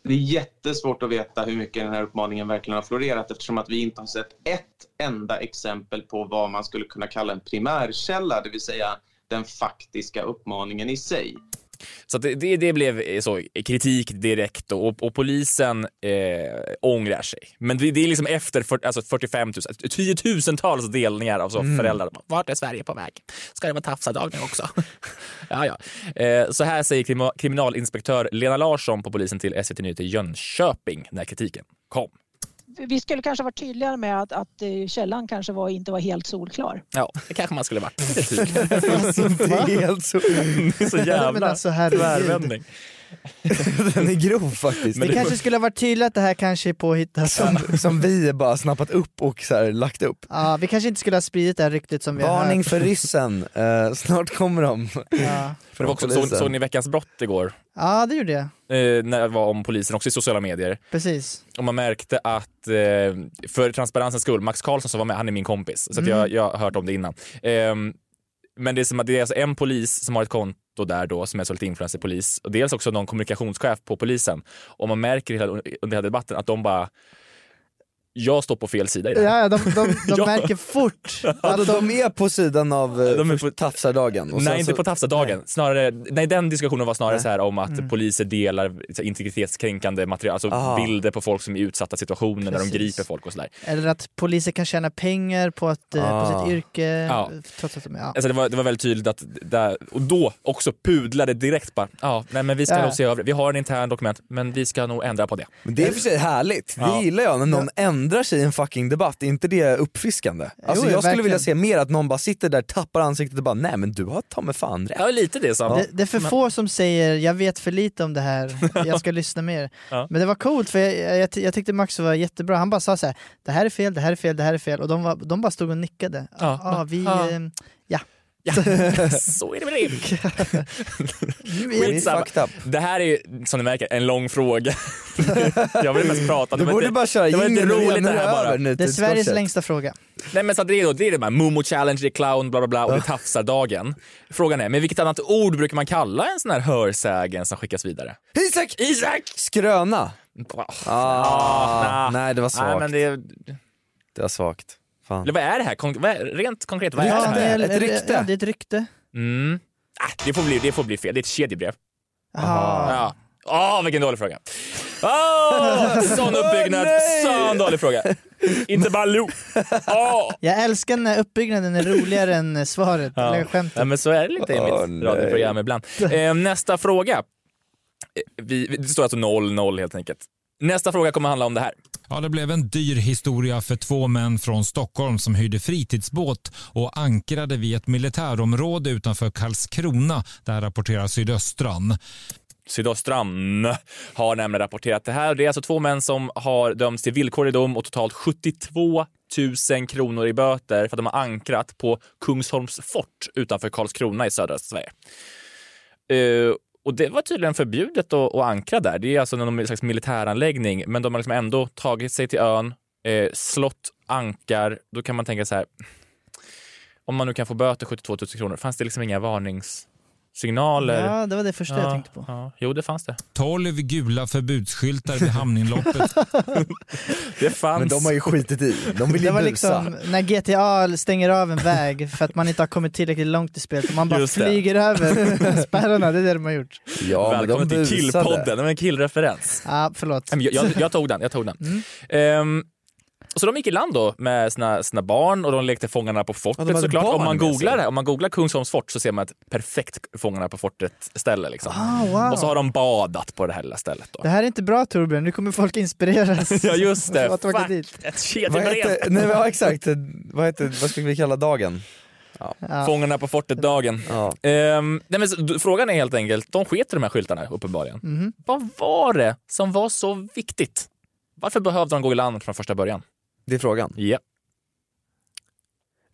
Det är jättesvårt att veta hur mycket den här uppmaningen verkligen har florerat eftersom att vi inte har sett ett enda exempel på vad man skulle kunna kalla en primärkälla, det vill säga den faktiska uppmaningen i sig.
Så att det, det, det blev eh, så kritik direkt och, och, och polisen eh, ångrar sig. Men det, det är liksom efter för, alltså 45 000, tiotusentals delningar av så
Mm.
föräldrar. Vart är Sverige på väg? Ska det vara tafsardag nu också? *laughs* ja, ja. Eh, så här säger krima- kriminalinspektör Lena Larsson på polisen till SVT Nyheter Jönköping när kritiken kom.
Vi skulle kanske vara tydligare med att, att eh, källan kanske var, inte var helt solklar.
*laughs* Ja, det kanske man skulle varit. Kritik.
*laughs*
Det är helt så... *laughs*
Det är så
Men
jävla
alltså, herregud.
tvärvändning.
Den är grov faktiskt.
det kanske skulle ha varit tydligt att det här kanske är
*laughs*
påhittat. Som...
som, som vi bara snappat upp och så här, lagt upp.
Ja, vi kanske inte skulle ha spridit det här ryktet som vi har
Varning
hört.
för ryssen, eh, snart kommer de.
Ja.
För det var också, såg,
Polisen.
såg ni Veckans brott igår?
Ja, det gjorde jag.
Eh, när det var om polisen också i sociala medier.
Precis.
Och man märkte att, eh, för transparensens skull, Max Karlsson som var med, han är min kompis. Så att
Mm.
jag, jag har hört om det innan. Ehm, men det är som att det är alltså en polis som har ett konto där då, som är så lite influencerpolis. Och dels också någon kommunikationschef på polisen. Och man märker hela, under hela debatten att de bara, jag står på fel sida i det här.
Ja, ja, de, de, de
Ja.
märker fort
Alltså,
att
de
de...
är på sidan av eh,
De är
först tafsardagen. och sen
Nej, inte
så-
på tafsardagen. Snarare, nej, den diskussionen var snarare
Nej.
så här om att
Mm.
poliser delar så här, integritetskränkande material, alltså
Ah.
bilder på folk som är i utsatta situationer när
Precis.
de griper folk och sådär.
Eller att poliser kan tjäna pengar på, att, eh, på
Ah.
sitt yrke.
Ja.
Trots att de, ja.
Alltså det, var, det var väldigt tydligt att, där, och då också pudlade direkt bara, ja, nej men vi ska
Ja.
nog se över det. Vi har en intern dokument, men vi ska nog ändra på det.
Men det är i och för sig härligt, det
Ja.
gillar jag när någon ändrar sig i en fucking debatt, är inte det uppfriskande? Alltså
Jo,
jag skulle
verkligen.
vilja se mer att någon bara sitter där, tappar ansiktet och bara nej men du har ta mig fan rätt.
Ja, lite det samma.
Det, det är för få som säger jag vet för lite om det här,
*laughs*
jag ska lyssna mer.
Ja.
Men det var coolt för jag, jag, ty- jag tyckte Max var jättebra, han bara sa så här: det här är fel, det här är fel, det här är fel och de, var, de bara stod och nickade.
Ja.
Ja, ah, vi,
Ja.
ehm, ja.
Ja, *laughs* så är det med
*laughs*
det.
Skitsamma.
Skitsamma. Det här är ju, som ni märker, en lång fråga. *laughs* jag vill mest prata.
Du
men
borde
det-
bara köra
det var lite
jingeln och
roligt
lämna
det här
det
bara.
över nu typ
Det är Sveriges längsta fråga.
Nej men så att det är då, det är det här Momo Challenge, det är clown, bla bla bla och det är tafsardagen. Frågan är, med vilket annat ord brukar man kalla en sån här hörsägen som skickas vidare?
Isak! Isak! Skröna.
Ah,
nej, det var
Nej,
svagt.
men det,
Det var svagt. Fan.
eller vad är det här? Kon- vad är, rent konkret, vad
Ja,
är det här?
det är- Ja, det är ett rykte.
Mm. Ah, det, får bli, det får bli fel, det är ett kedjebrev.
Aha.
Ja. Åh, vilken dålig fråga. Åh, sån uppbyggnad, sån dålig fråga. Inte Baloo. Åh.
Jag älskar när uppbyggnaden är roligare än svaret,
*laughs* Ja.
eller skämtet.
Ja, men så är det lite i mitt
Åh, nej.
radioprogram ibland. Eh, nästa fråga. Eh, Vi, vi- det står alltså 0-0 helt enkelt. Nästa fråga kommer handla om det här.
Ja, det blev en dyr historia för två män från Stockholm som hyrde fritidsbåt och ankrade vid ett militärområde utanför Karlskrona. Där rapporterar Sydöstran.
Sydöstran *laughs* har nämligen rapporterat det här. Det är alltså två män som har dömts till villkorlig dom och totalt 72 000 kronor i böter för att de har ankrat på Kungsholms fort utanför Karlskrona i södra Sverige. Eh, och det var tydligen förbjudet att, att ankra där. Det är alltså någon slags militäranläggning, men de har liksom ändå tagit sig till ön, eh, slått ankar. Då kan man tänka så här, om man nu kan få böter 72 000 kronor, fanns det liksom inga varningssignaler?
Ja, det var det första jag
Ja,
tänkte på.
Ja. Jo, det fanns det.
12 gula förbudsskyltar
*laughs*
vid hamninloppet.
Det fanns.
Men de har ju skitit i. De vill ju
det var
busa.
liksom när GTA stänger av
*laughs*
en väg för att man inte har kommit tillräckligt långt i spelet. Man bara
Just det. *laughs*
flyger över spärrarna, det är det de har gjort.
Ja, men
Välkommen
de
till
busade.
killpodden, det var en killreferens.
Ja, förlåt.
Nej, men Jag, jag, jag tog den. Jag tog den. Ehm, så de gick i land då med sina, sina barn och de lekte Fångarna på
de
fortet
hade
såklart. Om
barn
man,
med sig.
googlar, det här- om man googlar Kungsholms fort så ser man ett perfekt Fångarna på fortet-ställe. Liksom.
Ah, wow.
Och så har de badat på det här lilla stället. Då.
Det här är inte bra Torbjörn, nu kommer folk
*laughs*
inspireras.
Ja just det,
av Att åka
Fuck,
dit.
ett
Vad
kedjebrev!
heter, nej, men, ja, exakt. Vad, heter, vad skulle vi kalla dagen?
Ja.
Fångarna på fortet-dagen. Ehm, nej, men så- d- frågan är helt enkelt, de sket i de här skyltarna uppenbarligen.
Mhm.
Vad var det som var så viktigt? Varför behövde de gå i land från första början?
Det är frågan.
Ja.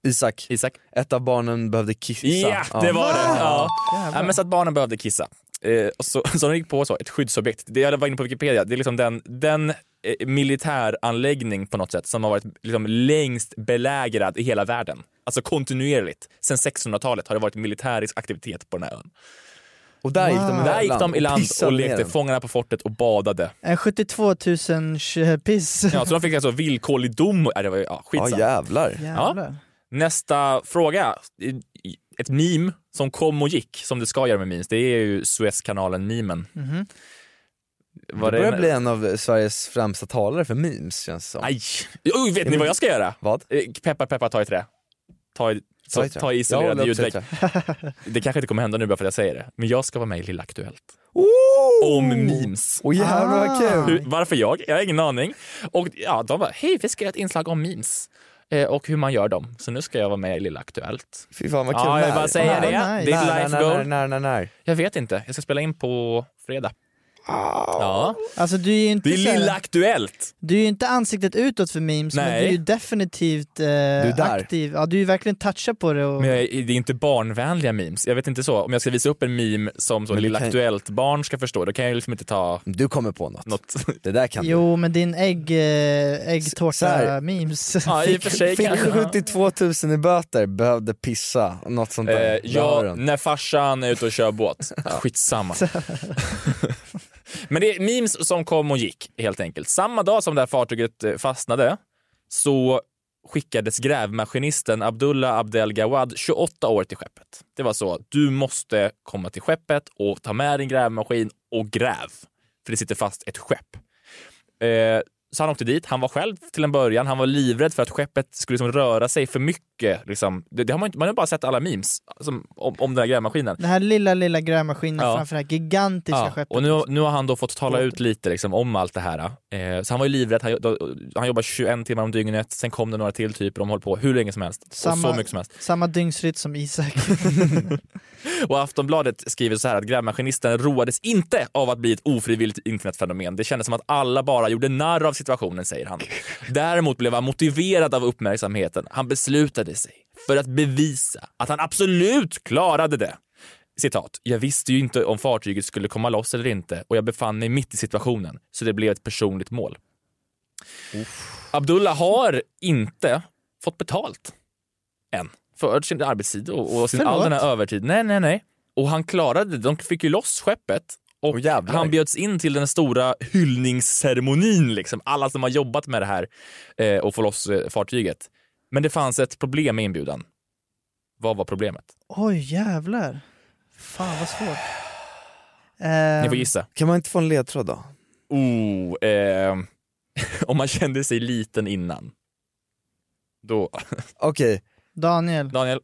Isak.
Isak.
Ett av barnen behövde kissa.
Ja, det var det. Ja.
Jävlar.
Ja, men så att barnen behövde kissa. Eh, och så, *laughs* så de gick på så, ett skyddsobjekt. Det jag var inne på Wikipedia, det är liksom den, den eh, militäranläggning på något sätt som har varit liksom längst belägrad i hela världen. Alltså kontinuerligt. Sen 1600-talet har det varit militärisk aktivitet på den här ön.
Och där gick de i
Där gick
land
de i
och
land och,
pissade ner
lekte
den.
Fångarna på fortet och badade.
En 72 000 tj- piss.
*laughs* Ja, så de fick alltså villkorlig dom. och- Ja, det var, ju- ja,
Ja
skitsamma.
jävlar.
Jävlar.
Nästa fråga. Ett meme som kom och gick, som det ska göra med memes, det är ju Suezkanalen-memen.
Mhm.
Det börjar bli en av Sveriges främsta talare för memes känns det som.
Aj! Oj, vet ni vad jag ska göra?
Vad?
Eh, Peppar, peppar, ta i trä. Ta i,
Ta i
ta i,
trä.
ta i
Jag håller
isolerad
också i
ljudvägg. Det kanske inte kommer hända nu bara för att jag säger det, men jag ska vara med i Lilla Aktuellt. Om memes.
Oh! Åh jävlar vad
Ah.
kul!
Hur, varför jag? Jag har ingen aning. Och ja, de bara, hej, vi ska göra ett inslag om memes. Eh, och hur man gör dem. Så nu ska jag vara med i Lilla Aktuellt.
Fy fan vad kul.
Ja, jag
När?
bara säger det.
När?
Det är ett
När,
life
när,
goal.
När, när, när, när?
Jag vet inte, jag ska spela in på fredag. Ja.
Alltså du är ju inte,
Det är
så här-
Lilla Aktuellt!
du är ju inte ansiktet utåt för memes, men
Nej.
du är ju definitivt eh,
är där.
aktiv. Ja, du är ju verkligen touchad på det. Och...
Men jag, det är inte barnvänliga memes. Jag vet inte så, om jag ska visa upp en meme som så
Men du
Lilla
kan-
Aktuellt barn ska förstå, då kan jag liksom inte ta
Du kommer på något.
något.
Det där
*laughs*
kan du.
Jo, men din ägg, eh,
Så här.
äggtårta-memes.
Ja, i och för sig
Fick
kanske.
72 000 Eh, i böter, behövde pissa, något sånt
Eh,
där. Behöver
ja,
den.
när farsan är ute och kör båt.
*laughs*
Skitsamma. Men det är memes som kom och gick helt enkelt. Samma dag som det här fartyget eh, fastnade så skickades grävmaskinisten Abdullah Abdel Gawad 28 år till skeppet. Det var så, du måste komma till skeppet och ta med din grävmaskin och gräv. För det sitter fast ett skepp. Eh, så han åkte dit. Han var själv till en början. Han var livrädd för att skeppet skulle liksom röra sig för mycket. Liksom. Det, det har man, inte, man har bara sett alla memes som, om, om den här grävmaskinen.
Den här lilla, lilla grävmaskinen
Ja.
framför det här gigantiska
Ja,
skeppet.
och nu, nu har han då fått tala ut lite liksom, om allt det här. Eh, så han var ju livrädd. Han, då, han jobbade 21 timmar om dygnet. Sen kom det några till typer. De höll på hur länge som helst. Och så mycket som helst.
Samma dygnsrytm som Isak. *laughs*
Och Aftonbladet skriver så här att grävmaskinisten roades inte av att bli ett ofrivilligt internetfenomen. Det kändes som att alla bara gjorde narr av situationen, säger han. Däremot blev han motiverad av uppmärksamheten. Han beslutade sig för att bevisa att han absolut klarade det. Citat, jag visste ju inte om fartyget skulle komma loss eller inte och jag befann mig mitt i situationen, så det blev ett personligt mål. Abdullah har inte fått betalt än för sin arbetstid och, och sin, all
Förlåt.
den här övertid. Nej, nej, nej. Och han klarade det. De fick ju loss skeppet och han bjöds in till den stora hyllningsceremonin. Liksom. Alla som har jobbat med det här eh, och få loss eh, fartyget. Men det fanns ett problem med inbjudan. Vad var problemet?
Oj jävlar. Fan vad svårt. Eh,
Ni får gissa.
Kan man inte få en ledtråd då?
Oh, eh, *laughs* om man kände sig liten innan. Då...
Okej.
Daniel.
Daniel.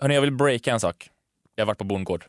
Hörni, jag vill breaka en sak. Jag har varit på bondgård.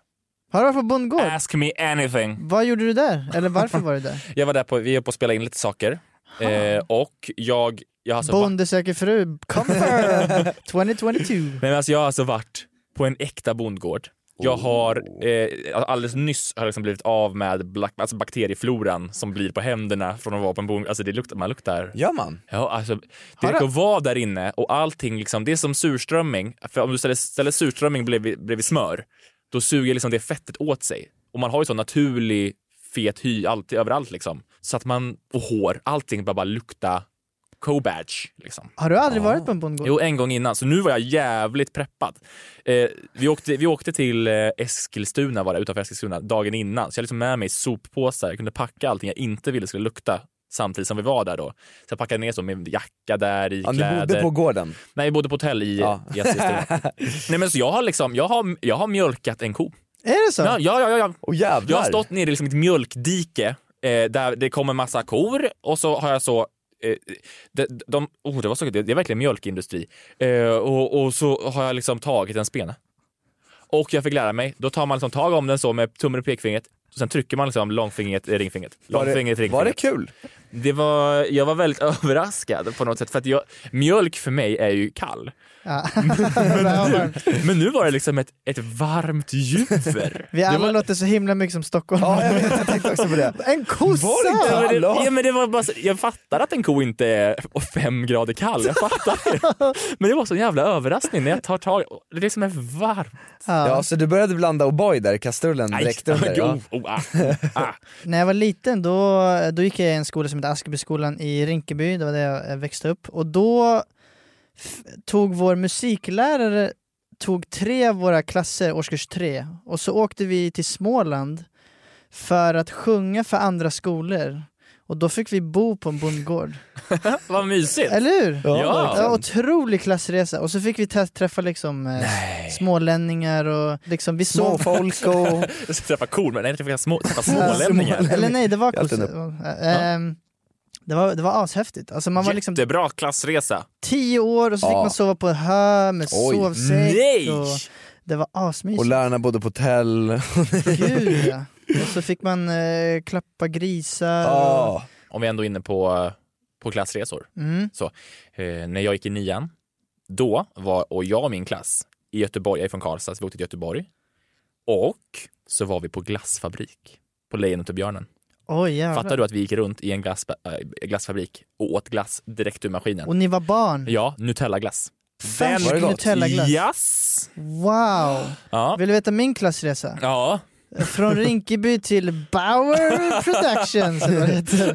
Har du varit på bondgård?
Ask me anything.
Vad gjorde du där? Eller varför var du där?
Jag var där på, vi är på att spela in lite saker. Eh, och jag, jag har *laughs* alltså varit,
Bonde söker fru,
*laughs*
confirm 2022.
nej, men alltså jag har alltså varit på en äkta bondgård.
Oh.
Jag har eh, alldeles nyss har jag liksom blivit av med black, alltså bakteriefloran som blir på händerna från att vara på en bondgård. Alltså det luktar, man luktar.
Gör man?
Ja, alltså, det räcker att vara där inne och allting liksom, det är som surströmming. För om du ställer, ställer surströmming bredvid, bredvid smör, då suger liksom det fettet åt sig. Och man har ju så naturlig fet hy alltid, överallt liksom. Så att man, och hår, allting bara, bara lukta co-badge liksom.
Har du aldrig varit på en bondgård?
Jo, en gång innan. Så nu var jag jävligt preppad. Eh, vi, åkte, vi åkte till eh, Eskilstuna, var det, utanför Eskilstuna, dagen innan. Så jag hade liksom med mig soppåsar. Jag kunde packa allting jag inte ville skulle lukta samtidigt som vi var där då. Så jag packade ner så med jacka där i
Ja,
kläder.
ni bodde på gården?
Nej, vi bodde på hotell i,
Ja. *laughs*
i Eskilstuna. Nej, men så jag har liksom, jag har, jag har mjölkat en ko.
Är det så?
Ja, ja, ja. ja.
Oh, jävlar.
Jag har stått nere i liksom ett mjölkdike eh, där det kommer massa kor och så har jag så eh, de, de, oh, det, var så, det, det är verkligen mjölkindustri. Eh, och, och så har jag liksom tagit en spene. Och jag fick lära mig, då tar man liksom tag om den så med tummen och pekfingret. Och sen trycker man liksom långfingret, eh, ringfingret.
Var det-
Långfingret, ringfingret.
var det kul?
Det var, jag var väldigt *laughs* överraskad på något sätt. För att jag, mjölk för mig är ju kall. *laughs*
Ja.
Men nu var det liksom ett, ett varmt juver.
Vi
Det
alla
var-
låter så himla mycket som Stockholm.
*laughs*
*laughs* En kossa!
Var det, ja, men det var bara, så- jag fattar att en ko inte är fem grader kall, jag fattar det. Men det var så en jävla överraskning när jag tar tag Det är liksom en varm...
Ja.
Ja, så du började blanda O'boy där i kastrullen
Nej,
direkt under?
jo,
Ja.
oh, ah.
När jag var liten då, då gick jag i en skola som hette Askebyskolan i Rinkeby, det var där jag eh, växte upp. Och då f- tog vår musiklärare tog tre av våra klasser, årskurs tre, och så åkte vi till Småland för att sjunga för andra skolor. Och då fick vi bo på en bondgård.
Vad mysigt!
Eller hur?
Ja,
ja,
verkligen.
otrolig klassresa. Och så fick vi tä- träffa liksom eh, smålänningar och liksom vi såg folk och...
Jag ska träffa kor, men nej, jag ska träffa små, träffa smålänningar.
Eller nej, det var
Jag
kossor.
tänder upp.
Eh, ehm, det var, det var ashäftigt. Alltså man var liksom
Jättebra klassresa.
tio år och så fick
Ja.
man sova på en hö med
Oj,
sovsäck.
nej!
Och det var asmysigt.
Och lärarna bodde på hotell.
Gud ja. Och så fick man eh, klappa grisar.
Ah.
och-
Om vi ändå är inne på, på klassresor.
Mm.
Så, eh, när jag gick i nian, då var och jag och min klass i Göteborg, jag är från Karlstad, så vi åkte till Göteborg. Och så var vi på glassfabrik på Lejonet och björnen.
Oj, jävlar.
Fattar du att vi gick runt i en glass, äh, glassfabrik och åt glass direkt ur maskinen?
Och ni var barn.
Ja, Nutellaglass.
Färsk
Väldigt gott.
Nutellaglass.
Yes.
Wow!
Ja.
Vill du veta min klassresa?
Ja.
Från Rinkeby till Bauer Productions. eller vad det
*laughs*
heter.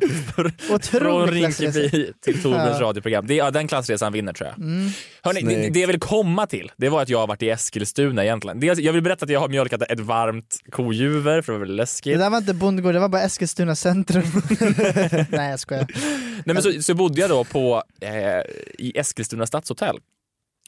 Från
Otrolig klassresa.
Rinkeby till Torbjörns
Ja.
radioprogram. Det, ja, den klassresan vinner tror jag.
Mm.
Hörrni, det,
Snyggt.
det jag vill komma till, det var att jag har varit i Eskilstuna egentligen. Dels, jag vill berätta att jag har mjölkat ett varmt kojuver för det var väldigt
Det
läskigt.
där var inte Bondgård, det var bara Eskilstuna centrum. *laughs* Nej jag skojar.
Nej, men så, så bodde jag då på, eh, i Eskilstuna stadshotell.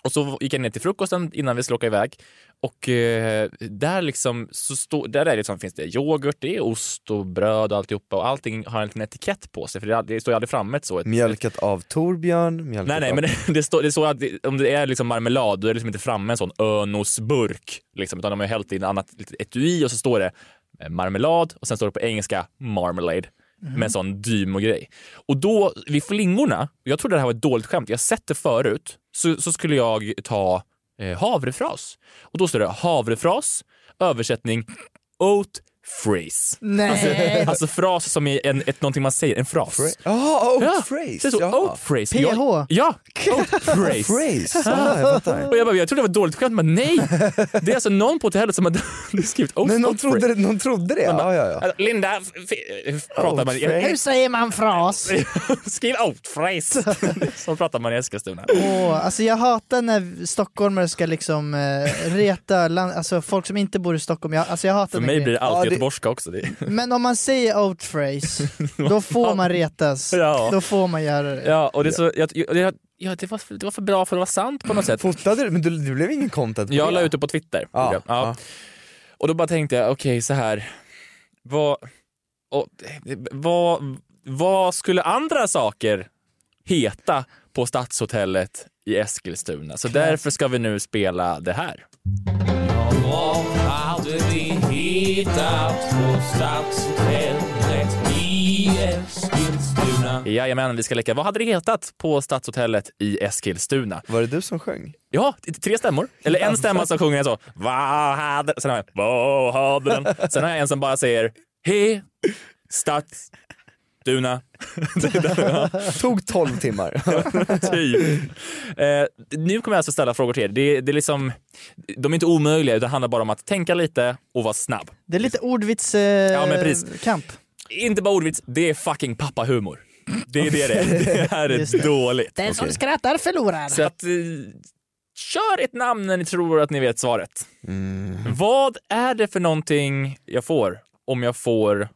Och så gick jag ner till frukosten innan vi skulle åka iväg. Och eh, där, liksom, så stå, där är det liksom, finns det yoghurt, det är ost och bröd och alltihopa. Och allting har en liten etikett på sig, för det, är aldrig- det står ju aldrig framme ett så. Ett,
Mjölkat av Torbjörn, mjölkat
Nej, nej,
av...
men *laughs* det, det, står, det står att det, om det är liksom marmelad, då är det liksom inte framme en sån Önosburk. Liksom, utan de har ju hällt in annat litet etui och så står det eh, marmelad och sen står det på engelska marmalade. Med en sån Dymo-grej. Och då, vid flingorna, jag trodde det här var ett dåligt skämt, jag har sett det förut, så, så skulle jag ta eh, havrefras. Och då står det havrefras, översättning oat freeze.
Nej.
Alltså, alltså fras som är en, ett, någonting man säger, en fras.
Ja, oat
Ja,
phrase.
Det står
ja.
oat phrase.
PH.
Jag, ja, oat phrase.
Phrase. Ah, jag fattar.
Och jag, bara, jag trodde det var ett dåligt skämt, men nej. Det är alltså någon på hotellet *laughs* som har skrivit oat,
Nej, någon
oat
trodde,
phrase.
det- någon trodde det.
Man
Ja,
bara,
ja, ja.
alltså, Linda, f- f- pratar man
*laughs* Hur
i...
säger man fras?
*laughs* Skriv oat *laughs* phrase. Så pratar man i Eskilstuna.
Åh, alltså jag hatar när stockholmare ska liksom eh, reta land, alltså folk som inte bor i Stockholm. Jag, alltså jag hatar
För
den
mig
grejen.
blir det alltid göteborgska också. Det.
Men om man säger out
*laughs*
phrase, då får man retas.
Ja.
Då får man göra det.
Ja, och det, är så, jag, jag, jag- ja, det, var, för- det var för bra för att vara sant på något sätt.
Fotade du? Men du, det blev ingen content på
Jag
det.
la ut det på Twitter. gjorde jag. ja. Och då bara tänkte jag, okej så här. Vad, och, vad, vad skulle andra saker heta på Stadshotellet i Eskilstuna? Så därför ska vi nu spela det här.
Vad hade det hetat på Stadshotellet i Eskilstuna?
Jajamän, vi ska leka. Vad hade det hetat på Stadshotellet i Eskilstuna?
Var det du som sjöng?
Ja, t- tre stämmor. Eller en stämma som sjunger så. Vad hade... Sen har jag, vad hade den? Sen har jag en som bara säger He, stads,
*laughs*
duna.
Tog 12 timmar. *laughs*
typ. Eh, nu kommer jag alltså ställa frågor till er. Det, det är liksom, de är inte omöjliga, utan det handlar bara om att tänka lite och vara snabb.
Det är lite ordvitskamp.
Ja, men
Eh,
precis.
kamp.
Inte bara ordvits, det är fucking pappahumor. Det är det det är. Det här
Just
är
det.
dåligt.
Den som skrattar förlorar.
Så att, eh, kör ett namn när ni tror att ni vet svaret.
Mm.
Vad är det för någonting jag får om jag får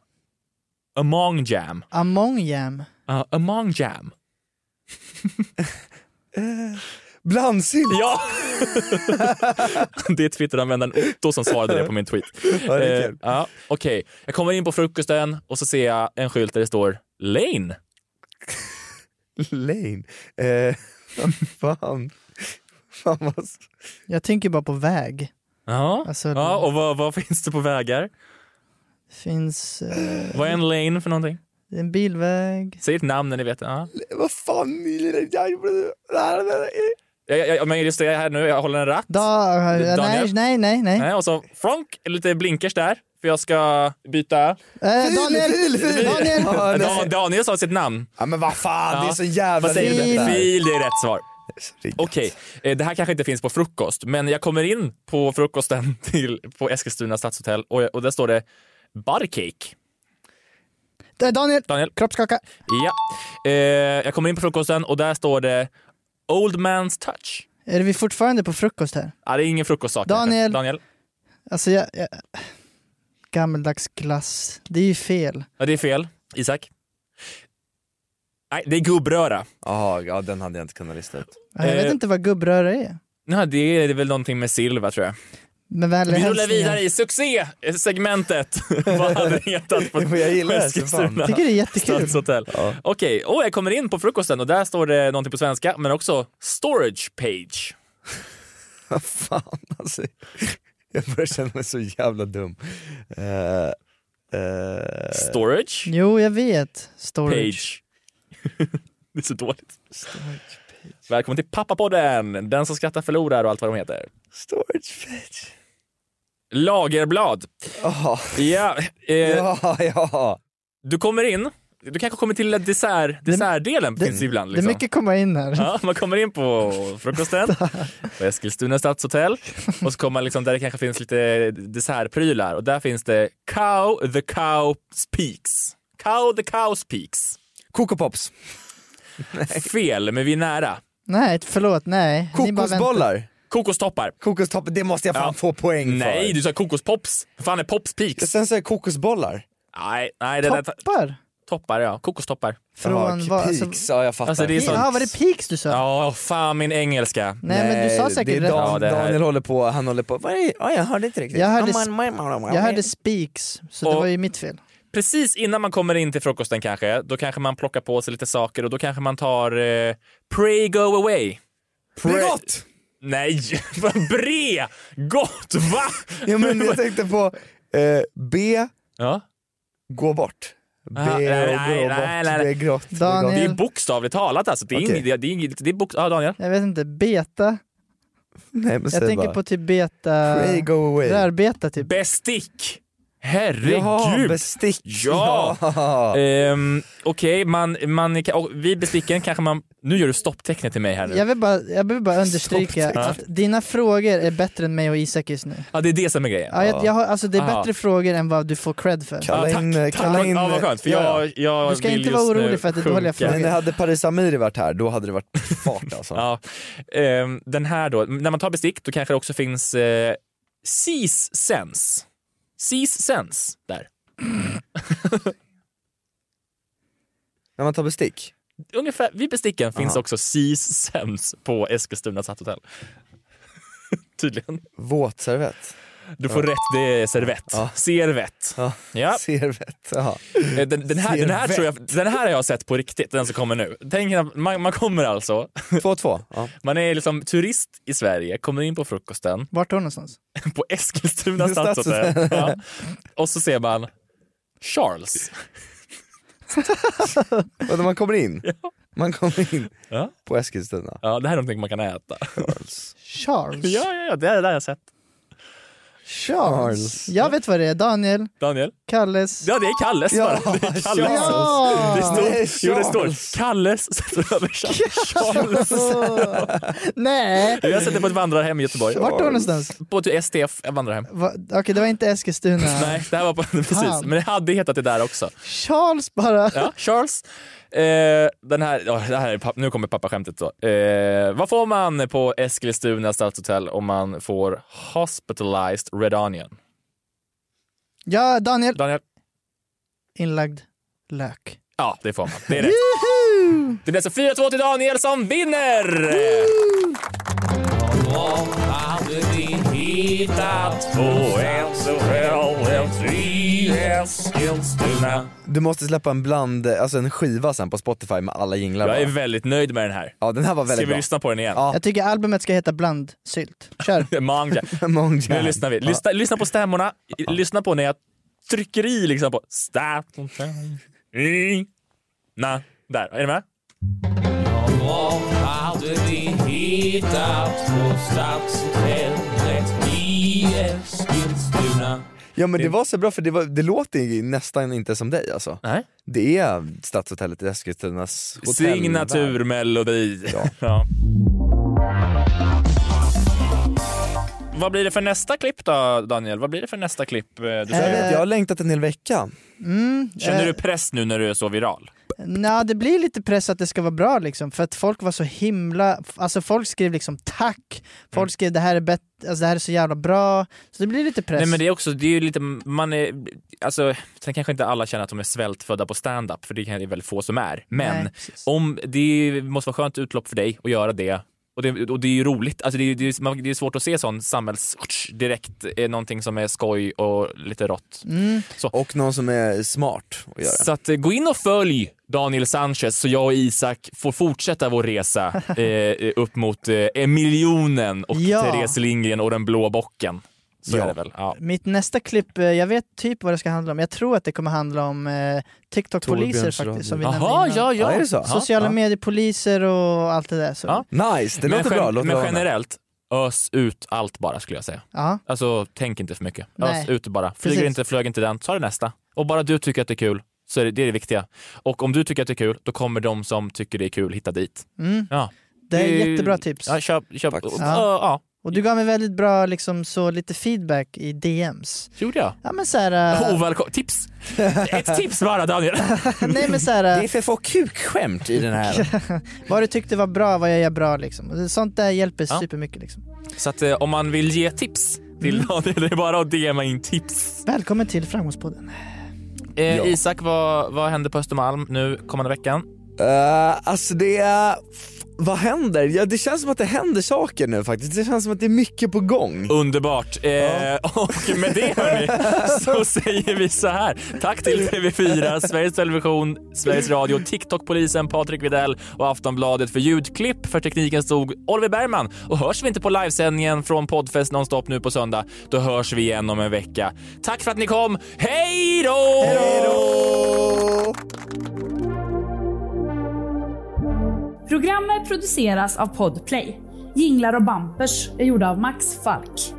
among jam?
Among jam.
Uh, among jam.
Blandsylt!
Ja! *laughs* det är Twitteranvändaren Otto som svarade det på min tweet.
Ja, det är
Eh,
kul.
ja, Okej, jag kommer in på frukosten och så ser jag en skylt där det står Lane.
Lane. Eh, *laughs* fan. fan vad... s-
Jag tänker bara på väg.
Ja,
Alltså,
ja och vad, vad finns det på vägar?
Finns... Eh,
Vad är en lane för någonting?
det är en bilväg.
Säg ett namn när ni vet. Ja.
Vad fan, ni lilla
Jag, jag, jag, men just det, jag är här nu, jag håller en ratt.
Da,
Daniel?
nej, nej, nej, nej.
Nej, och så fronk, lite blinkers där, för jag ska byta.
Eh, Daniel! Daniel!
Eh, Dan, Daniel sa sitt namn.
Ja men vad fan, det är så jävla
Vad säger du?
rimligt det här.
Fil, det är rätt svar. Okej, eh, det här kanske inte finns på frukost, men jag kommer in på frukosten *laughs* till, på Eskilstuna stadshotell och, och där står det barcake.
Eh, Daniel!
Daniel.
Kroppskaka.
Ja. Eh, jag kommer in på frukosten och där står det Old Man's Touch.
Är vi fortfarande på frukost här?
Ah, det är ingen frukostsak. kanske.
Daniel.
Daniel.
Alltså jag... jag gammeldags glass. Det är ju fel.
Ja, det är fel. Isak. Nej, det är gubbröra.
Jaha, ja den hade jag inte kunnat lista ut.
Ja, jag vet
Eh,
inte vad gubbröra är.
Nej, det är väl någonting med silver tror jag.
Men vänliga
Vi rullar
hälsningar.
vidare
*laughs*
i succé-segmentet. Vad hade det hetat på
jag
*laughs*
gillar det här,
Eskilstuna
för fan. Tycker det är jättekul.
stadshotell? Okej, och jag kommer in på frukosten och där står det någonting på svenska, men också storage page.
Vad *laughs* fan alltså. Jag börjar känna mig så jävla dum. Eh, eh,
Storage?
Jo, jag vet. Storage.
Page. *laughs* det är så dåligt. Välkommen till Pappapodden! Den som skrattar förlorar och allt vad de heter.
Storage page.
Lagerblad. Ja, eh,
ja, ja.
Du kommer in, du kanske kommer till dessert, dessertdelen finns ju ibland. Liksom.
Det är mycket komma in här.
Ja, man kommer in på frukosten på Eskilstuna stadshotell och så kommer man liksom där det kanske finns lite dessertprylar och där finns det Cow the Cow Speaks. Cow the Cow Speaks.
Coco Pops.
*laughs* Fel, men vi är nära.
Nej, förlåt, nej. Ni bara väntar.
Kokostoppar.
Kokostoppar, det måste jag fan få poäng för.
Nej, du sa kokospops. Vad fan är Pops Peaks?
Sen sa jag kokosbollar.
Nej, nej. Det
toppar?
Toppar, ja. Kokostoppar.
Från
Jaha,
vad-
peaks,
alltså-
ja jag fattar.
Alltså, det är sånt-
Ja, var det Peaks du sa?
Ja, fan min engelska.
Nej, men du sa
Nej,
säkert
det är
rätt.
Dan,
Ja, det här-
Daniel håller på, han håller på, vad är det? Ja, jag hörde inte riktigt.
Jag hörde,
Ja, man- man- man- man-
jag hörde Speaks, så det
Och-
var ju mitt fel.
Precis innan man kommer in till frukosten kanske, då kanske man plockar på sig lite saker och då kanske man tar eh, Pray Go Away.
Bregott!
Nej, *laughs* vad bre! Gott, va?
Ja men
*laughs*
jag tänkte på eh, B,
ja.
gå bort. B
Ah,
och
nej, nej,
gå bort,
nej, nej.
det är grått. det är
Daniel.
Det är
grått.
bokstavligt talat alltså. Det är
Okej.
inget, det är inget, det är bok, ja, Daniel.
Jag vet inte, beta.
Nej, men
jag
säg
tänker
bara.
på typ beta...
Pray go away.
Rörbeta typ.
Bestick! Herregud!
Ja, bestick.
Ja!
Ja.
Ehm, Okej, man, man, kan- och vid besticken kanske man... Nu gör du stopptecknet till mig här nu.
Jag vill bara, jag vill bara understryka
Stopp.
att dina frågor är bättre än mig och Isak just nu.
Ja, det är det som är grejen.
Ja, jag, jag har, alltså det är
Ja.
bättre frågor än vad du får cred för.
Kalla in, kalla
tack.
in...
Ja, vad skönt, för jag- jag Du ska vill inte vara just orolig nu för att det är dåliga sjunka. frågor.
Men hade Paris Amiri varit här, då hade det varit fart alltså.
*laughs* Ja. Ehm, den här då, när man tar bestick då kanske det också finns eh, Seas Sense. Seas Sense, där.
När man tar bestick.
Ungefär vid besticken finns
Aha.
också Seas Sense på Eskilstuna stadshotell. *laughs* Tydligen.
Våtservett.
Du får rätt, det är servett.
Ja.
Servett.
Ja.
Ja.
Servett, jaha.
Eh, Den, den, här, den, här tror jag, den här har jag sett på riktigt, den som kommer nu. Tänk, att man, man kommer alltså,
2-2. Ja.
man är liksom turist i Sverige, kommer in på frukosten *laughs*
Vart då någonstans?
på Eskilstuna
Det alltså, är
stadshotell.
stadshotell.
Ja. Och så ser man Charles.
Och när man kommer in. Man kommer in
Ja.
på Eskilstuna.
Ja, det här är någonting man kan äta.
Charles?
Ja, ja, ja det är det har jag sett.
Charles. Jag vet vad det är, Daniel,
Daniel?
Kalles.
Ja, det är Kalles
Ja, *laughs*
bara. Det är Kalles.
Ja!
Det
Det är
står, jo, det
Charles.
står Kalles, *laughs* så översatt Charles.
*laughs* Nej!
Jag har sett det på ett vandrarhem i Göteborg.
Vart då någonstans?
På ett STF vandrarhem.
Va? Okej, det var inte Eskilstuna.
*laughs* Nej, det här var på, precis. Men det hade hetat det där också.
Charles bara.
Ja, *laughs* Charles. Eh, den här, ja, det här är papp, nu kommer pappaskämtet då. Eh, vad får man på Eskilstuna stadshotell om man får hospitalized red onion?
Ja, Daniel.
Daniel.
Inlagd lök.
Ja, det får man. Det är rätt. Det blir alltså 4-2 till Daniel som vinner!
Vad hade ni hittat på en så väldigt i Eskilstuna?
Du måste släppa en bland, alltså en skiva sen på Spotify med alla jinglar.
Jag är
bara.
väldigt nöjd med den här.
Ja den här var väldigt
Ska vi
bra.
lyssna på den igen?
Jag tycker albumet ska heta Blandsylt.
*laughs*
Kör.
Manga.
Manga.
Nu lyssnar vi. Lyssna, lyssna på stämmorna. Lyssna på när jag trycker i liksom på stä... i- Na. Där. Är ni med?
Vad hade ni hittat på stadshotellet i Eskilstuna?
Ja men det var så bra för det, var, det låter ju nästan inte som dig alltså.
Nej.
Det är Stadshotellet i Eskilstunas hotellvärld.
*laughs* Signaturmelodi. Ja. Vad blir det för nästa klipp då, Daniel? Vad blir det för nästa klipp? eh, Du
Jag, vet, jag
säger?
har längtat en hel vecka.
Mm,
Känner
eh,
du press nu när du är så viral?
Nja, det blir lite press att det ska vara bra liksom, för att folk var så himla, alltså folk skrev liksom tack,
Mm.
folk skrev det här är bättre, alltså det här är så jävla bra, så det blir lite press.
Nej men det är också, det är ju lite, man är, alltså, sen kanske inte alla känner att de är svältfödda på stand-up för det är det väldigt få som är. Men
Nej,
om, det är- måste vara skönt utlopp för dig att göra det. Och det, och det är ju roligt, alltså det, är, det, är, man- det är svårt att se sån samhälls... direkt, är någonting som är skoj och lite rått.
Mm.
Och någon som är smart att göra.
Så att, eh, gå in och följ Daniel Sanchez så jag och Isak får fortsätta vår
*laughs*
resa eh, eh, upp mot eh, miljonen och
Ja.
Therese Lindgren och den blå bocken. Så
Ja.
är det väl. Ja.
Mitt nästa klipp, eh, jag vet typ vad det ska handla om, jag tror att det kommer handla om eh, TikTok-poliser
Torbjörns radio.
faktiskt. Som vi
Jaha,
nämnde innan.
ja, ja. Ja, är det så?
Sociala
Ja.
medier-poliser och allt det där. Så.
Nice, det
men
låter
gen-
bra, låter
men
bra.
generellt, ös ut allt bara skulle jag säga.
Ja.
Alltså tänk inte för mycket.
Nej.
Ös ut bara. Flyger
Precis.
inte, flög inte den, ta det nästa. Och bara du tycker att det är kul, så är det, det är det viktiga. Och om du tycker att det är kul, då kommer de som tycker det är kul hitta dit.
Mm.
Ja.
Det är
ju-
jättebra tips.
Ja, köp, köp. Och,
Faktiskt.
ja. ja.
Och du gav mig väldigt bra liksom, så lite feedback i DMs.
Gjorde jag?
Ja men såhär...
*laughs*
eh,
Ovälkommen. Tips! Ett tips bara *laughs* Daniel!
Nej men såhär...
Det är för få kukskämt i den här.
vad du tyckte var bra, vad jag gör bra liksom. Sånt där hjälper
Ja.
supermycket liksom.
Så att eh, om man vill ge tips till Daniel, det är bara att DMa in tips.
Välkommen till Framgångspodden.
Eh,
Ja.
Isak, vad, vad händer på Östermalm nu kommande veckan?
Eh, alltså det är... Vad händer? Ja, det känns som att det händer saker nu faktiskt. Det känns som att det är mycket på gång.
Underbart! Eh, *laughs* Och med det hörni, så *laughs* säger vi så här. Tack till TV4, Sveriges Television, Sveriges Radio, TikTok-polisen, Patrik Videll och Aftonbladet för ljudklipp. För tekniken stod Oliver Bergman. Och hörs vi inte på livesändningen från Podfest nonstop nu på söndag, då hörs vi igen om en vecka. Tack för att ni kom. Hej då!
Programmet produceras av Podplay. Jinglar och bampers är gjorda av Max Falk.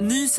Ny